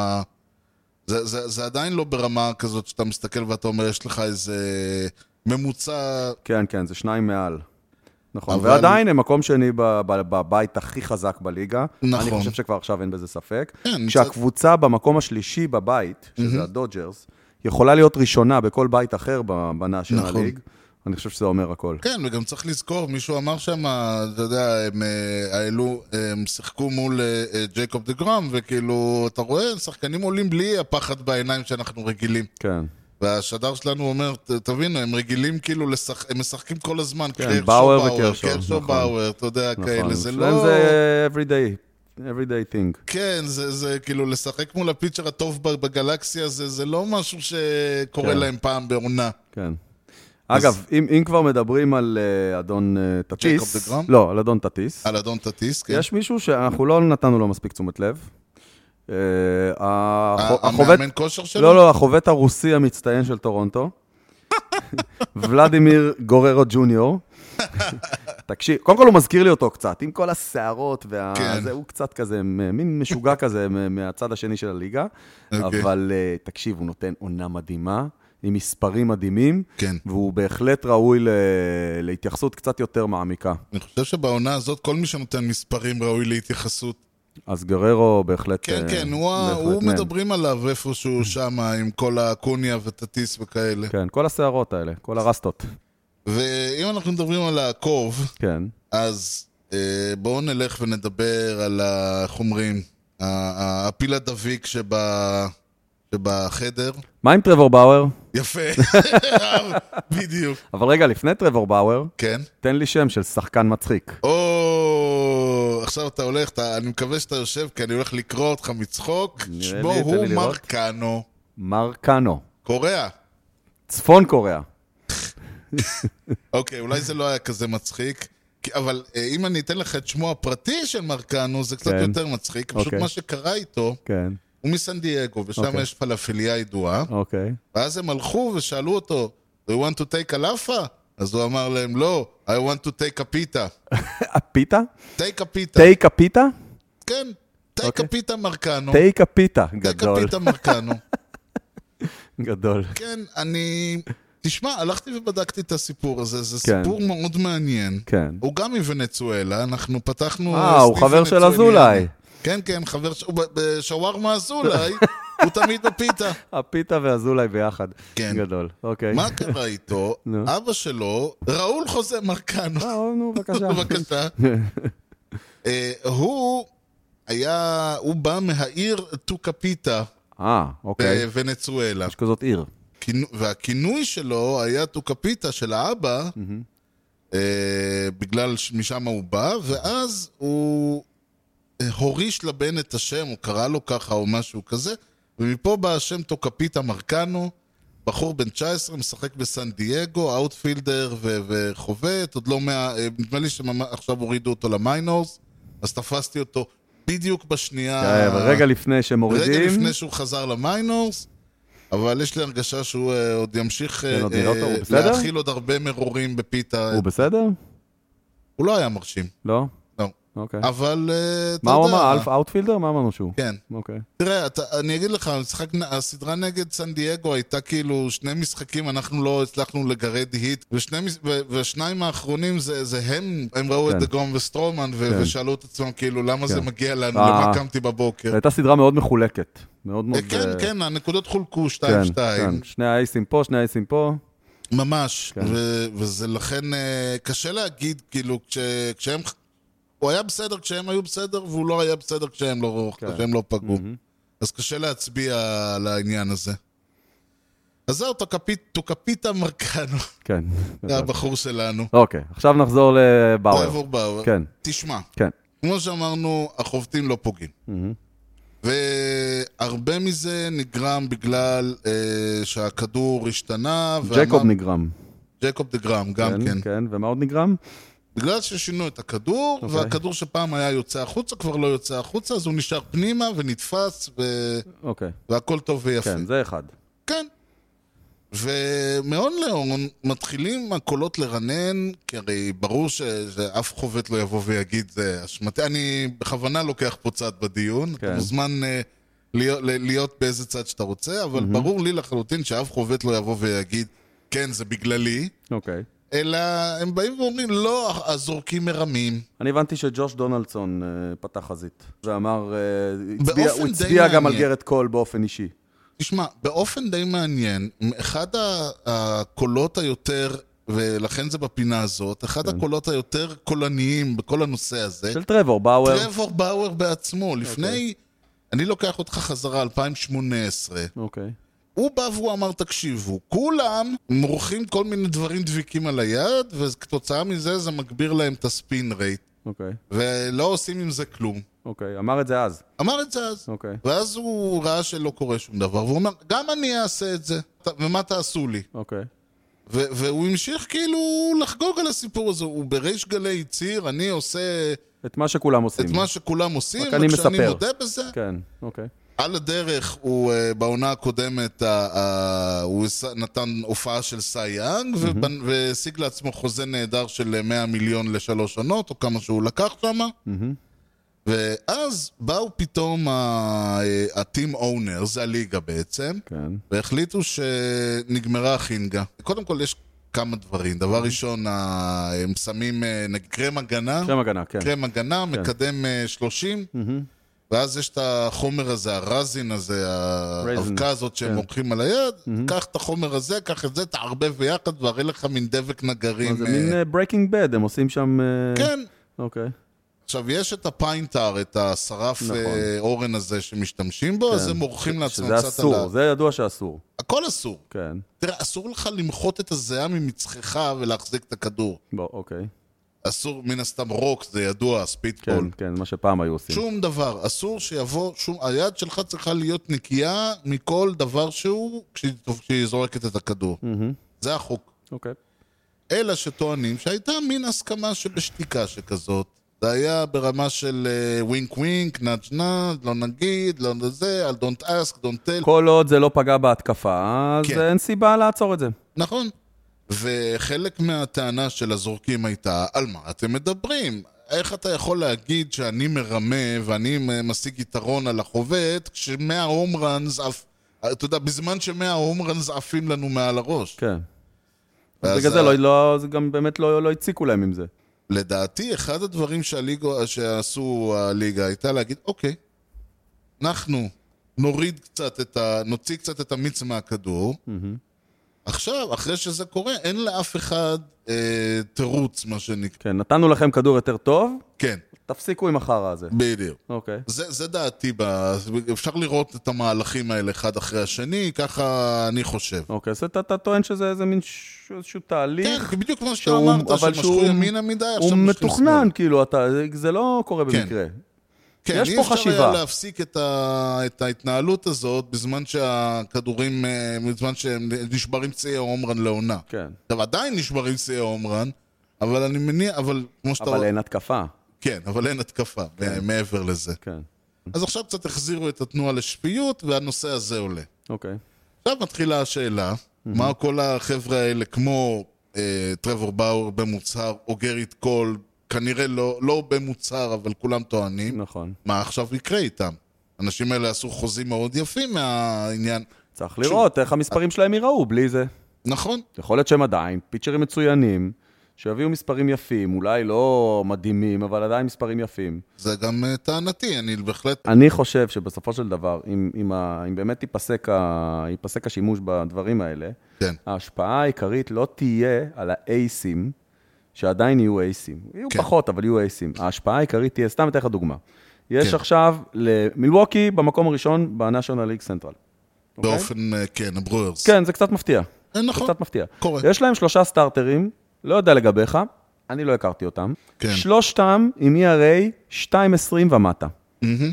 A: זה, זה, זה עדיין לא ברמה כזאת שאתה מסתכל ואתה אומר, יש לך איזה ממוצע
B: כן, כן, זה שניים מעל. נכון,
A: אבל-
B: אבל... ועדיין הם מקום שני ב- ב- בבית הכי חזק בליגה.
A: נכון.
B: אני חושב שכבר עכשיו אין בזה ספק.
A: כן, Mhm.
B: כשהקבוצה במקום השלישי בבית, שזה הדודג'רס, יכולה להיות ראשונה בכל בית אחר ב- בנאשונל
A: נכון.
B: נכון. ליג, אני חושב שזה אומר הכל.
A: כן, וגם צריך לזכור, מישהו אמר שם, אתה יודע, הם, אה, העלו, הם שיחקו מול אה, אה, ג'ייקוב דה גראם, וכאילו, אתה רואה, שחקנים עולים בלי הפחד בעיניים שאנחנו רגילים.
B: כן,
A: והשדר שלנו אומר, "ת- תבינו, הם רגילים כאילו, לשח... הם משחקים כל הזמן,
B: כן,
A: קרשו
B: באואר
A: באואר,
B: וקרשו,
A: קרשו
B: נכון.
A: באואר, אתה יודע,
B: נכון.
A: כאלה, זה
B: אצלם
A: לא...
B: זה everyday, everyday thing.
A: כן, זה, זה כאילו, לשחק מול הפיצ'ר הטוב ב- בגלקסיה, זה, זה לא משהו שקורה
B: כן.
A: להם פעם בעונה.
B: כן. אגב, אם אם כבר מדברים על אה, אדון אה,
A: ג'ייקוב
B: טטיס,
A: דה גראם?
B: לא, על אדון טטיס,
A: על אדון טטיס, כן.
B: יש מישהו שאנחנו לא נתנו לו מספיק תשומת לב. אה, הח-
A: ה-
B: החובט-
A: המאמן כושר שלו?
B: לא, לא, החובט הרוסי המצטיין של טורונטו, ולדימיר גוררו ג'וניור. תקשיב, קודם כל הוא מזכיר לי אותו קצת, עם כל השערות וה...
A: כן.
B: זה, הוא קצת כזה, מ- מין משוגע כזה מ- מהצד השני של הליגה.
A: אוקיי.
B: אבל אה, תקשיב, הוא נותן עונה מדהימה, עם מספרים מדהימים,
A: כן.
B: והוא בהחלט ראוי ל... להתייחסות קצת יותר מעמיקה.
A: אני חושב שבעונה הזאת כל מי שנותן מספרים ראוי להתייחסות.
B: אז גררו בהחלט...
A: כן,
B: אה,
A: כן, הוא ה-
B: בהחלט
A: הוא
B: מהם.
A: מדברים עליו איפשהו שמה עם כל האקוניה וטטיס וכאלה.
B: כן, כל השערות האלה, כל הרסטות.
A: ואם אנחנו מדברים על העקוב,
B: כן.
A: אז אה, בואו נלך ונדבר על, ה- איך אומרים, ה- ה- הפיל הדביק שב- שבחדר.
B: מה עם טרוור באואר?
A: יפה, בדיוק,
B: אבל רגע, לפני טרוור באואר,
A: כן.
B: תן לי שם של שחקן מצחיק.
A: או, עכשיו אתה הולך, אתה, אני מקווה שאתה יושב, כי אני הולך לקרוא אותך מצחוק.
B: נראה לי,
A: שמו
B: תן לי
A: הוא
B: לראות.
A: מרקנו,
B: מרקנו,
A: קוריאה.
B: צפון קוריאה.
A: אוקיי, אולי זה לא היה כזה מצחיק. כי- אבל אה, אם אני אתן לך את שמו הפרטי של מרקנו, זה קצת
B: כן.
A: יותר מצחיק. פשוט
B: אוקיי.
A: מה שקרה איתו,
B: כן,
A: הוא מסן דייגו, ושם
B: אוקיי.
A: יש פלאפיליה ידועה.
B: אוקיי.
A: ואז הם הלכו ושאלו אותו, Do you want to take a lapa? אז הוא אמר להם, לא, I want to take a pita.
B: הפיתה?
A: take a pita.
B: טייק הפיתה?
A: כן, take a
B: אוקיי.
A: pita מרקנו.
B: טייק הפיתה.
A: take
B: גדול,
A: a pita מרקנו.
B: גדול.
A: כן, אני... תשמע, הלכתי ובדקתי את הסיפור הזה, זה
B: כן.
A: סיפור מאוד מעניין.
B: כן.
A: הוא גם מוונצואלה, אנחנו פתחנו...
B: אה, הוא
A: סניף
B: חבר של
A: ונצואליאני.
B: אזולאי.
A: כן, כן, חבר ש... הוא ב- בשווארמה אזולאי, הוא תמיד בפיתה.
B: הפיתה ואזולאי ביחד.
A: כן.
B: גדול, אוקיי.
A: מה קרה איתו?
B: נו.
A: אבא שלו, ראול חוזה מרקנו.
B: אה, נו, בבקשה.
A: בבקשה. אה, הוא היה... הוא בא מהעיר טוקפיטה
B: אה, אוקיי.
A: בוונצואלה.
B: יש כזאת עיר.
A: כינו- והכינוי שלו היה טוקפיטה של האבא,
B: Mm-hmm.
A: אה, בגלל שמשם הוא בא, ואז הוא אה, הוריש לבן את השם, הוא קרא לו ככה או משהו כזה, ומפה בא השם טוקפיטה מרקנו, בחור בן 19, משחק בסן דייגו, אאוטפילדר ו- וחובט, עוד לא מה... אה, נדמה לי שעכשיו הורידו אותו למיינורס, אז תפסתי אותו בדיוק בשנייה...
B: אה, אבל רגע לפני
A: רגע
B: שמורידים,
A: לפני שהוא חזר למיינורס, אבל יש לי הרגשה שהוא אה, עוד ימשיך אה,
B: כן, עוד נראה אותו, הוא
A: אה,
B: בסדר?
A: להאכיל עוד הרבה מרורים בפיתה.
B: הוא בסדר?
A: הוא לא היה מרשים,
B: לא?
A: לא.
B: אוקיי.
A: אבל אה, אתה
B: מה הוא
A: יודע...
B: אמר? אלף אאוטפילדר? מה אמרנו שהוא?
A: כן.
B: אוקיי.
A: תראה, אתה- אני אגיד לך, המשחק נ- הסדרה נגד סן דייגו הייתה כאילו שני משחקים, אנחנו לא הצלחנו לגרד היט, ושני מש- ו- והשניים האחרונים זה זה הם, הם ראו
B: כן.
A: את דגום וסטרומן, ו-
B: כן.
A: ושאלו את עצמם כאילו, למה זה מגיע לנו,
B: אה.
A: למה קמתי בבוקר?
B: זו הייתה סדרה מאוד מחולקת. מאוד מאוד...
A: אה, כן,
B: אה,
A: כן, הנקודות חולקו
B: כן,
A: 2-2.
B: כן. שני האייסים פה, שני האייסים פה.
A: ממש, כן. ו- וזה לכן אה, קשה להגיד, כאילו, כש- כשהם... הוא היה בסדר כשהם היו בסדר, והוא לא היה בסדר כשהם לא,
B: כן.
A: כן. כשהם לא פגעו. Mm-hmm. אז קשה להצביע על העניין הזה. אז זהו, טוקפיט- טוקפיטה מרקנו,
B: כן.
A: זה הבחור שלנו.
B: אוקיי, עכשיו נחזור לבאואר.
A: טרבור באואר.
B: כן.
A: תשמע,
B: כן.
A: כמו שאמרנו, החובטים לא פוגעים. והרבה מזה נגרם בגלל אה, שהכדור השתנה.
B: ג'קוב
A: ואמר-
B: נגרם.
A: ג'קוב דה גראם, גם כן.
B: כן, ומה עוד נגרם?
A: בגלל ששינו את הכדור, okay.
B: אוקיי.
A: והכדור שפעם היה יוצא החוצה, כבר לא יוצא החוצה, אז הוא נשאר פנימה ונתפס, ו...
B: אוקיי.
A: והכל טוב ויפה.
B: כן,
A: כן.
B: זה אחד.
A: כן. ומהון להון מתחילים הקולות לרנן, כי הרי ברור ש... שאף חובט לא יבוא ויגיד, זה אשמתי. אני בכוונה לוקח פה צד בדיון, כן.
B: כן.
A: אתה מוזמן אה, להיות, ל- להיות באיזה צד שאתה רוצה, אבל mm-hmm. ברור לי לחלוטין שאף חובט לא יבוא ויגיד, כן, זה בגללי.
B: אוקיי.
A: אלא הם באים ואומרים, לא, הזורקים מרמים.
B: אני הבנתי שג'וש דונלדסון אה, פתח חזית. ואמר, אה, הצביע-
A: באופן
B: הוא
A: די
B: הצביע גם על
A: מעניין. אה,
B: גרד קול באופן אישי.
A: תשמע, באופן די מעניין, אחד ה- הקולות היותר, ולכן זה בפינה הזאת, אחד הקולות היותר קולניים בכל הנושא הזה,
B: של טרוור באואר.
A: טרוור באואר בעצמו, לפני... אני לוקח אותך חזרה, 2018.
B: אוקיי.
A: הוא בא והוא אמר, תקשיבו, כולם מורחים כל מיני דברים דביקים על היד, וכתוצאה מזה זה מגביר להם את הספין רייט,
B: אוקיי.
A: ולא עושים עם זה כלום.
B: אוקיי. אמר את זה אז.
A: אמר את זה אז.
B: אוקיי.
A: ואז הוא ראה שלא קורה שום דבר, והוא אומר, גם אני אעשה את זה, ת- ומה תעשו לי?
B: אוקיי.
A: ו- והוא המשיך כאילו לחגוג על הסיפור הזה. הוא בריש גלי הצהיר, אני עושה
B: את מה שכולם עושים.
A: את מה שכולם עושים,
B: רק אני
A: וכשאני
B: מספר."
A: מודה בזה,
B: כן, אוקיי.
A: על הדרך, הוא אה, בעונה הקודמת, אה, אה, הוא עשה- נתן הופעה של סי יאנג, ובנ- והשיג לעצמו חוזה נהדר של אה, 100 מיליון לשלוש שנות, או כמה שהוא לקח שם. ואז באו פתאום ה- אה, ה-team owner, זה הליגה בעצם,
B: כן.
A: והחליטו שנגמרה החינגה. קודם כל יש כמה דברים. דבר ראשון, ה- הם שמים אה, נגיד קרם הגנה.
B: שם הגנה, כן.
A: קרם הגנה, מקדם אה, 30, ואז יש את החומר הזה, הרזין הזה, האבקה הזאת
B: כן.
A: שהם מורחים על היד, קח את החומר הזה, קח את זה, תערבב ביחד, והרי לך מין דבק נגרים.
B: זה
A: אה,
B: מין אה, breaking bad, הם עושים שם... אה,
A: כן.
B: אוקיי.
A: עכשיו, יש את הפיינטר, את השרף
B: נכון. כן.
A: אה, אורן הזה שמשתמשים בו, אז הם מורחים לעצמם
B: שזה
A: קצת על ה...
B: אסור, זה ידוע שאסור.
A: הכל אסור.
B: כן.
A: תראה, אסור לך למחות את הזיעה ממצחך ולהחזיק את הכדור.
B: בוא, אוקיי.
A: אסור, מן הסתם רוק, זה ידוע,
B: כן,
A: הספיטבול.
B: כן, מה שפעם היו עושים.
A: שום דבר, אסור שיבוא, שום, היד שלך צריכה להיות נקייה מכל דבר שהוא כשהיא כשהיא זורקת את הכדור. זה החוק.
B: אוקיי.
A: אלא שטוענים שהייתה מין הסכמה שבשתיקה שכזאת. זה היה ברמה של אה, ווינק ווינק, נאג' נאג', לא נגיד, לא זה, על don't ask, don't tell,
B: כל עוד זה לא פגע בהתקפה, אז
A: כן.
B: אין סיבה לעצור את זה.
A: נכון. וחלק מהטענה של הזורקים הייתה, על מה אתם מדברים? איך אתה יכול להגיד שאני מרמה ואני משיג יתרון על החובט, כשמאה הום ראנס עף... אתה יודע, בזמן שמאה הום ראנס עפים לנו מעל הראש.
B: כן.
A: ואז
B: בגלל זה
A: ה-
B: לא- לא, זה גם באמת לא לא הציקו להם עם זה.
A: לדעתי, אחד הדברים שהליגו, שעשו הליגה הייתה להגיד, אוקיי, אנחנו נוריד קצת את ה... נוציא קצת את המיץ מהכדור. עכשיו, אחרי שזה קורה, אין לאף אחד אה, תירוץ, מה שנקרא.
B: כן, נתנו לכם כדור יותר טוב,
A: כן,
B: תפסיקו עם החרא הזה.
A: בדיוק.
B: אוקיי.
A: זה, זה דעתי, ב... אפשר לראות את המהלכים האלה אחד אחרי השני, ככה אני חושב.
B: אוקיי, אז אתה אתה טוען שזה איזה מין ש- איזשהו
A: כן,
B: תהליך,
A: כי בדיוק כמו שאתה
B: שהוא-
A: אמרת,
B: אוקיי.
A: שהם
B: אבל
A: משכו
B: שהוא-
A: ימינה מדי, עכשיו
B: הוא
A: משכים
B: מתוכנן,
A: שמאלה.
B: כאילו, אתה- זה- זה לא קורה במקרה.
A: כן,
B: יש
A: אי
B: פה
A: אפשר
B: חשיבה.
A: היה להפסיק את, ה... את ההתנהלות הזאת בזמן שהכדורים, אה, בזמן שהם נשברים ציי ההומרן לעונה.
B: כן.
A: עכשיו, עדיין נשברים ציי ההומרן, אבל אני מניח, אבל כמו שאתה...
B: אבל אין התקפה.
A: כן, אבל אין התקפה מ- מעבר לזה.
B: כן,
A: אז עכשיו קצת החזירו את התנועה לשפיות, והנושא הזה עולה.
B: אוקיי.
A: עכשיו מתחילה השאלה, מה כל החבר'ה האלה, כמו אה, טרוור באואר במוצהר, או גריט קול, כנראה לא, לא במוצהר, אבל כולם טוענים,
B: נכון.
A: מה עכשיו יקרה איתם? האנשים האלה עשו חוזים מאוד יפים מהעניין,
B: צריך לראות איך המספרים שלהם ייראו בלי זה.
A: נכון?
B: יכול להיות שהם עדיין פיצ'רים מצוינים, שיביאו מספרים יפים, אולי לא מדהימים, אבל עדיין מספרים יפים.
A: זה גם אה, טענתי, אני בהחלט...
B: אני חושב שבסופו של דבר, אם, אם, ה, אם באמת ייפסק, ה, ייפסק השימוש בדברים האלה,
A: כן.
B: ההשפעה העיקרית לא תהיה על האייסים, שעדיין יהיו אייסים. יהיו
A: כן.
B: פחות, אבל יהיו אייסים. ההשפעה העיקרית תהיה, סתם אתן לך דוגמה. יש
A: כן.
B: עכשיו למילווקי במקום הראשון ב-National League Central. אוקיי?
A: באופן, אה, כן, הברוארס.
B: כן, זה קצת מפתיע.
A: אה,
B: זה
A: נכון.
B: קצת מפתיע.
A: קורה.
B: יש להם שלושה סטארטרים, לא יודע לגביך, אני לא הכרתי אותם.
A: כן.
B: שלושתם עם E ERA 2.20 ומטה.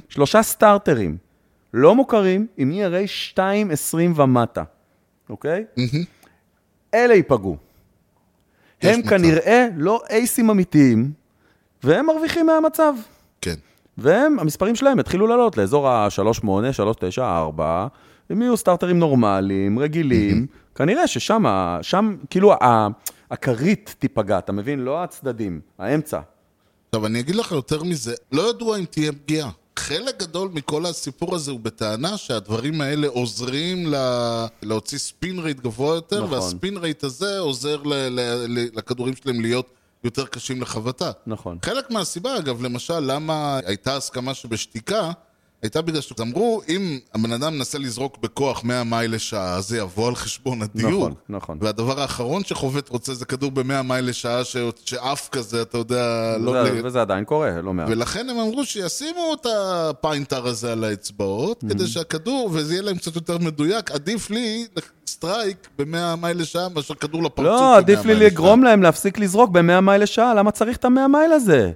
B: שלושה סטארטרים לא מוכרים עם ERA 2.20 ומטה, אוקיי? אלה ייפגעו.
A: יש
B: הם
A: מצב.
B: כנראה לא אייסים אמיתיים, והם מרוויחים מהמצב.
A: כן.
B: והם, המספרים שלהם התחילו לעלות לאזור ה-3.8, 3.9, 4, הם יהיו סטארטרים נורמליים, רגילים, כנראה ששם, ה- שם, כאילו, ה- הכרית תיפגע, אתה מבין? לא הצדדים, האמצע.
A: עכשיו, אני אגיד לך יותר מזה, לא ידוע אם תהיה פגיעה. חלק גדול מכל הסיפור הזה הוא בטענה שהדברים האלה עוזרים ל... להוציא ספין רייט גבוה יותר,
B: נכון.
A: והספין רייט הזה עוזר ל... ל... ל... לכדורים שלהם להיות יותר קשים לחבטה.
B: נכון.
A: חלק מהסיבה, אגב, למשל, למה הייתה הסכמה שבשתיקה, הייתה בגלל שאמרו, אם הבן אדם מנסה לזרוק בכוח 100 מייל לשעה, אז זה יבוא על חשבון הדיוק.
B: נכון, נכון.
A: והדבר האחרון שחובט רוצה זה כדור ב-100 מייל לשעה, ש... שעף כזה, אתה יודע, לא...
B: וזה,
A: בלי-
B: וזה עדיין קורה, לא מעט.
A: ולכן הם אמרו שישימו את הפיינטר הזה על
B: Mhm.
A: האצבעות, כדי שהכדור, וזה יהיה להם קצת יותר מדויק, עדיף לי סטרייק ב-100 מייל לשעה מאשר כדור לפרצוף. ב-
B: לא,
A: 100
B: עדיף לי
A: מייל
B: לגרום להם להפסיק לזרוק ב-100 מייל לשעה, למה צריך את ה-100 מייל הזה?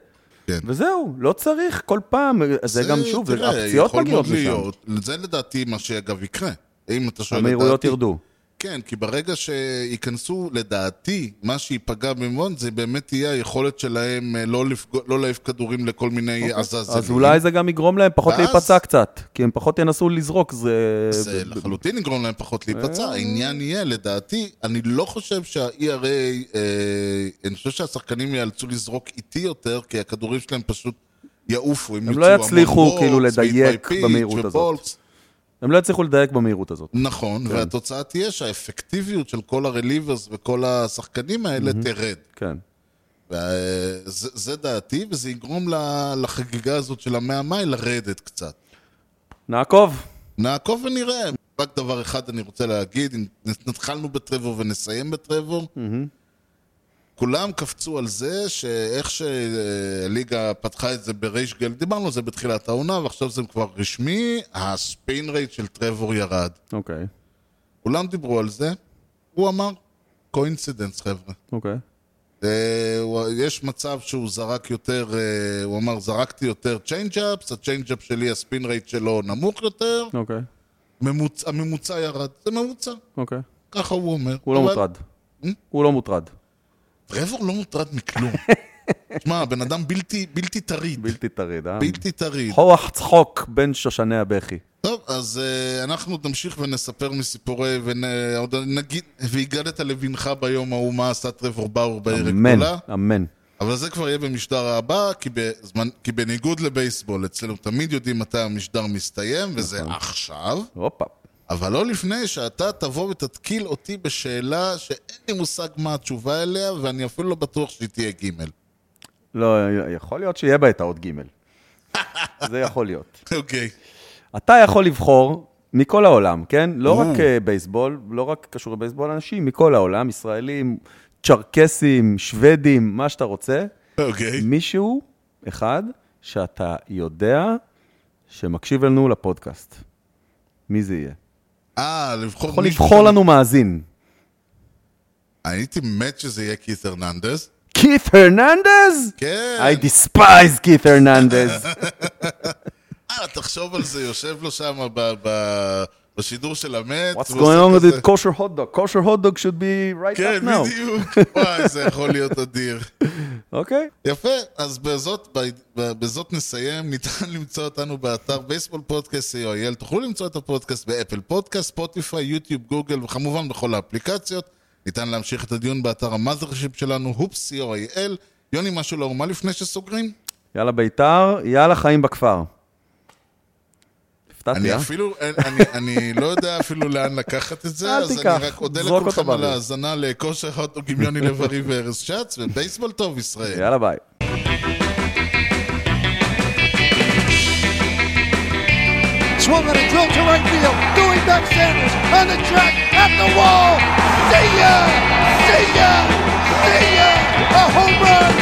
A: כן.
B: וזהו, לא צריך כל פעם, זה
A: לשעה.
B: גם שוב, זה-
A: תראה,
B: הפציעות
A: יכול
B: מגיעות
A: מאוד
B: משם.
A: להיות. זה לדעתי מה שאגב יקרה. אם אתה שואל לדעתי...
B: המהירויות ירדו.
A: כן, כי ברגע שייכנסו, לדעתי, מה שייפגע במון זה באמת תהיה היכולת שלהם אה, לא, לפגוע, לא להעיף כדורים לכל מיני עזאזלים.
B: אוקיי, אז אולי זה גם יגרום להם פחות
A: ואז-
B: להיפצע קצת, כי הם פחות ינסו לזרוק, זה... אה.
A: זה אה, נכון. לחלוטין יגרום להם פחות להיפצע. העניין יהיה, לדעתי, אני לא חושב שה-ERA, אה, אני חושב שהשחקנים ייאלצו לזרוק איטי יותר, כי הכדורים שלהם פשוט יעופו.
B: הם לא יצליחו, כאילו, לדייק במהירות הזאת. הם לא יצליחו לדייק במהירות הזאת.
A: נכון,
B: כן.
A: והתוצאה תהיה שהאפקטיביות של כל הרליברס וכל השחקנים האלה תרד.
B: כן.
A: וה- זה זה דעתי, וזה יגרום ל- לחגיגה הזאת של המאה מייל לרדת קצת.
B: נעקוב.
A: נעקוב ונראה. רק דבר אחד אני רוצה להגיד, אם התחלנו בטרבור ונסיים בטרבור, כולם קפצו על זה שאיך שהליגה פתחה את זה בריש גל, דיברנו על זה בתחילת העונה, ועכשיו זה כבר רשמי, הספיין רייט של טרבור ירד.
B: אוקיי,
A: כולם דיברו על זה, הוא אמר, קוינסידנס חבר'ה.
B: אוקיי.
A: אה, הוא- יש מצב שהוא זרק יותר, אה, הוא אמר, זרקתי יותר צ'יינג'אפס, הצ'יינג'אפ שלי, הספין רייט שלו נמוך יותר,
B: אוקיי,
A: ממוצ... הממוצע ירד. זה ממוצע,
B: אוקיי.
A: ככה הוא אומר.
B: הוא לא
A: אבל Hmm?
B: מוטרד. הוא לא מוטרד.
A: טרבור לא מוטרד מכלום. תשמע, בן אדם בלתי, בלתי טריד.
B: בלתי טריד, אה?
A: בלתי טריד.
B: כוח צחוק בין שושני הבכי.
A: טוב, אז uh, אנחנו נמשיך ונספר מסיפורי, ועוד נגיד, והגדת לבנך ביום ההוא מה עשה טרבור באור בעיר
B: אמן,
A: הגדולה.
B: אמן.
A: אבל זה כבר יהיה במשדר הבא, כי, בזמן, כי בניגוד לבייסבול, אצלנו תמיד יודעים מתי המשדר מסתיים, וזה
B: נכון.
A: עכשיו.
B: הופה.
A: אבל לא לפני שאתה תבוא ותתקיל אותי בשאלה שאין לי מושג מה התשובה אליה, ואני אפילו לא בטוח שהיא תהיה ג'.
B: לא, יכול להיות שיהיה בה את האות ג'. זה יכול להיות.
A: אוקיי.
B: אתה יכול לבחור מכל העולם, כן? לא
A: אה.
B: רק אה, בייסבול, לא רק קשור לבייסבול, אנשים מכל העולם, ישראלים, צ'רקסים, שוודים, מה שאתה רוצה.
A: אוקיי.
B: מישהו, אחד, שאתה יודע שמקשיב לנו לפודקאסט. מי זה יהיה?
A: אה, לבחור
B: יכול לבחור לנו מאזין.
A: הייתי מת שזה יהיה כית' הרננדז.
B: כית' הרננדז?
A: כן.
B: I despise כית' הרננדז.
A: אה, תחשוב על זה, יושב לו שם ב- ב- בשידור של המת.
B: What's
A: ועושה
B: going on with
A: כזה-
B: it? kosher hot dog. kosher hot dog should be right
A: כן,
B: up now.
A: בדיוק. וואי, זה יכול להיות אדיר.
B: אוקיי.
A: יפה, אז בזאת, ב- ב- בזאת נסיים, ניתן למצוא אותנו באתר בייסבול פודקאסט co.il, תוכלו למצוא את הפודקאסט באפל פודקאסט, ספוטיפיי, יוטיוב, גוגל וכמובן בכל האפליקציות. ניתן להמשיך את הדיון באתר המאזרשיפ שלנו, הופס co.il. יוני, משהו לא אומה לפני שסוגרים?
B: יאללה בית"ר, יאללה חיים בכפר. הפתעתי,
A: אני
B: אה?
A: אפילו, אני, אני לא יודע אפילו לאן לקחת את זה,
B: אל
A: אז
B: תיקח,
A: אני רק אודה
B: זרוק אותו
A: לכולכם על
B: באוויר.
A: ההאזנה לכושר הוטדוג עם יוני לב-ארי וארז שץ, ובייסבול טוב, ישראל.
B: יאללה ביי.
F: Swung on a drill to right field. Doing back Sanders on the track at the wall. See ya! See ya! See ya! A home run!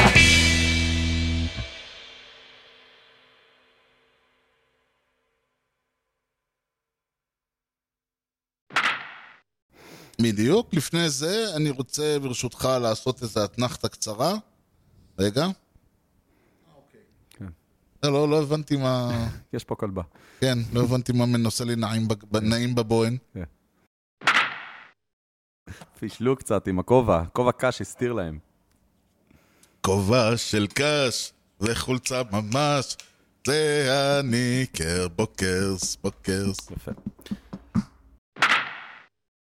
A: בדיוק. לפני זה, אני רוצה, ברשותך, לעשות איזו אתנחתה קצרה. רגע.
B: אוקיי.
A: לא, לא, לא הבנתי מה...
B: יש פה כלבה.
A: כן, לא הבנתי מה מנוסה לי נעים בג- ב- נעים בבוהן.
B: פישלו קצת עם הכובע, כובע קש הסתיר להם.
A: כובע של קש וחולצה ממש, זה הניקר, בוקרס, בוקרס.
B: יפה.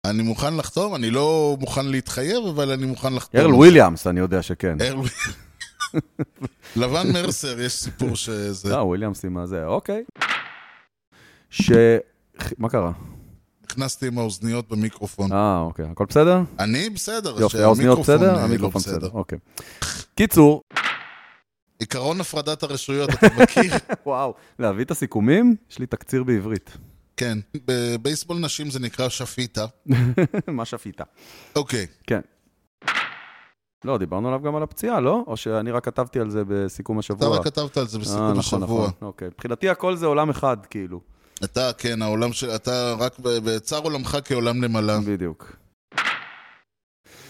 A: אני מוכן לחתום, אני לא מוכן להתחייב, אבל אני מוכן לחתום.
B: ארל וויליאמס, אני יודע שכן.
A: ארל וויל- לבן מרסר, יש סיפור שזה...
B: לא, וויליאמס עם הזה, אוקיי. ש... מה קרה?
A: נכנסתי עם האוזניות במיקרופון.
B: אה, אוקיי. הכל בסדר?
A: אני בסדר,
B: יופי,
A: שהמיקרופון,
B: האוזניות בסדר?
A: אה, לא
B: המיקרופון בסדר, אוקיי. קיצור,
A: עיקרון הפרדת הרשויות, אתה מכיר?
B: וואו, להביא את הסיכומים? יש לי תקציר בעברית.
A: כן. בבייסבול נשים זה נקרא שפיטה.
B: מה שפיטה.
A: אוקיי.
B: כן. לא, דיברנו עליו גם על הפציעה, לא? או שאני רק כתבתי על זה בסיכום
A: אתה
B: השבוע?
A: רק כתבת על זה
B: אה,
A: בסיכום
B: נכון,
A: השבוע.
B: נכון. אוקיי. מבחינתי הכל זה עולם אחד, כאילו.
A: אתה, כן, העולם של... אתה רק ב- בצר עולמך כעולם נמלה.
B: בדיוק.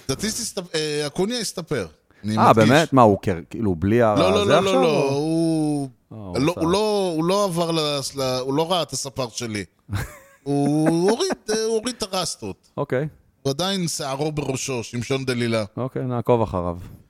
A: סטטיסט הסת- אה, אקוניה הסתפר. אני
B: אה,
A: מדגיש.
B: באמת? מה, הוא כאילו, כאילו בלי ה...
A: לא, לא,
B: זה
A: לא,
B: עכשיו,
A: לא, לא,
B: או-
A: הוא...
B: אה,
A: לא,
B: עשה.
A: הוא לא- הוא לא עבר ל... ל- הוא לא ראה את הספר שלי. הוא הוריד אה, הוא הוריד את הרסטות.
B: אוקיי.
A: הוא עדיין שערו בראשו, שמשון דלילה.
B: אוקיי, נעקוב אחריו.